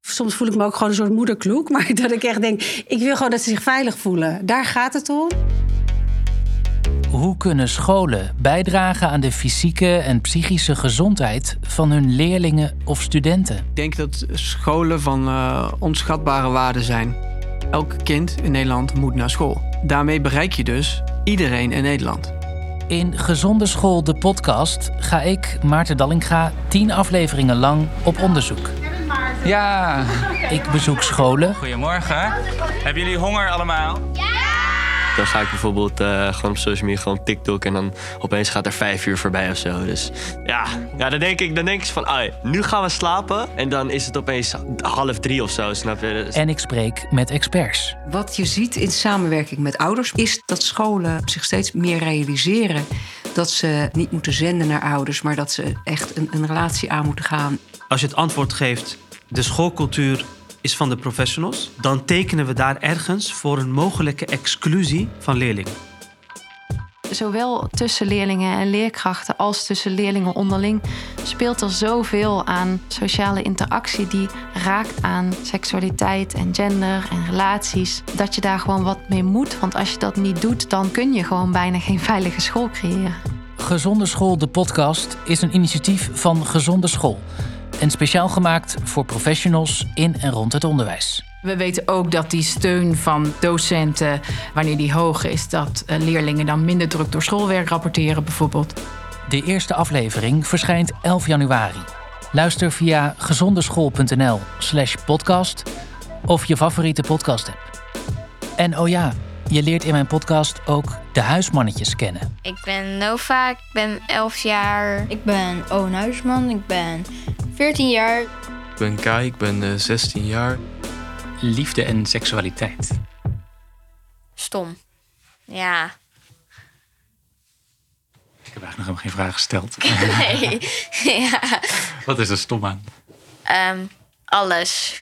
soms voel ik me ook gewoon een soort moederkloek. Maar dat ik echt denk, ik wil gewoon dat ze zich veilig voelen. Daar gaat het om. Hoe kunnen scholen bijdragen aan de fysieke en psychische gezondheid van hun leerlingen of studenten? Ik denk dat scholen van eh, onschatbare waarde zijn. Elk kind in Nederland moet naar school. Daarmee bereik je dus iedereen in Nederland. In Gezonde School, de podcast, ga ik, Maarten Dallinga, tien afleveringen lang op onderzoek. Ja, Ik bezoek scholen, goedemorgen. Hebben jullie honger allemaal? Dan ga ik bijvoorbeeld eh, gewoon op social media, gewoon op TikTok. En dan opeens gaat er vijf uur voorbij of zo. Dus ja, ja dan denk ik, dan denk ik van, ai, nu gaan we slapen. En dan is het opeens half drie of zo, snap je? Dus- en ik spreek met experts. Wat je ziet in samenwerking met ouders is dat scholen zich steeds meer realiseren dat ze niet moeten zenden naar ouders, maar dat ze echt een, een relatie aan moeten gaan. Als je het antwoord geeft, de schoolcultuur is van de professionals, dan tekenen we daar ergens voor een mogelijke exclusie van leerlingen. zowel tussen leerlingen en leerkrachten als tussen leerlingen onderling speelt er zoveel aan sociale interactie die raakt aan seksualiteit en gender en relaties. Dat je daar gewoon wat mee moet, want als je dat niet doet, dan kun je gewoon bijna geen veilige school creëren. Gezonde School, de podcast, is een initiatief van Gezonde School. En speciaal gemaakt voor professionals in en rond het onderwijs. We weten ook dat die steun van docenten, wanneer die hoog is, dat eh, leerlingen dan minder druk door schoolwerk rapporteren bijvoorbeeld. De eerste aflevering verschijnt 11 januari. Luister via gezondeschool.nl slash podcast of je favoriete podcast app. En oh ja, je leert in mijn podcast ook de huismannetjes kennen. Ik ben Nova, ik ben 11 jaar. Ik ben Owen Huisman, ik ben 14 jaar. Ik ben Kai, ik ben eh, 16 jaar. Liefde en seksualiteit. Stom. Ja. Ik heb eigenlijk nog helemaal geen vraag gesteld. Nee. ja. Wat is er stom aan? Ehm, alles.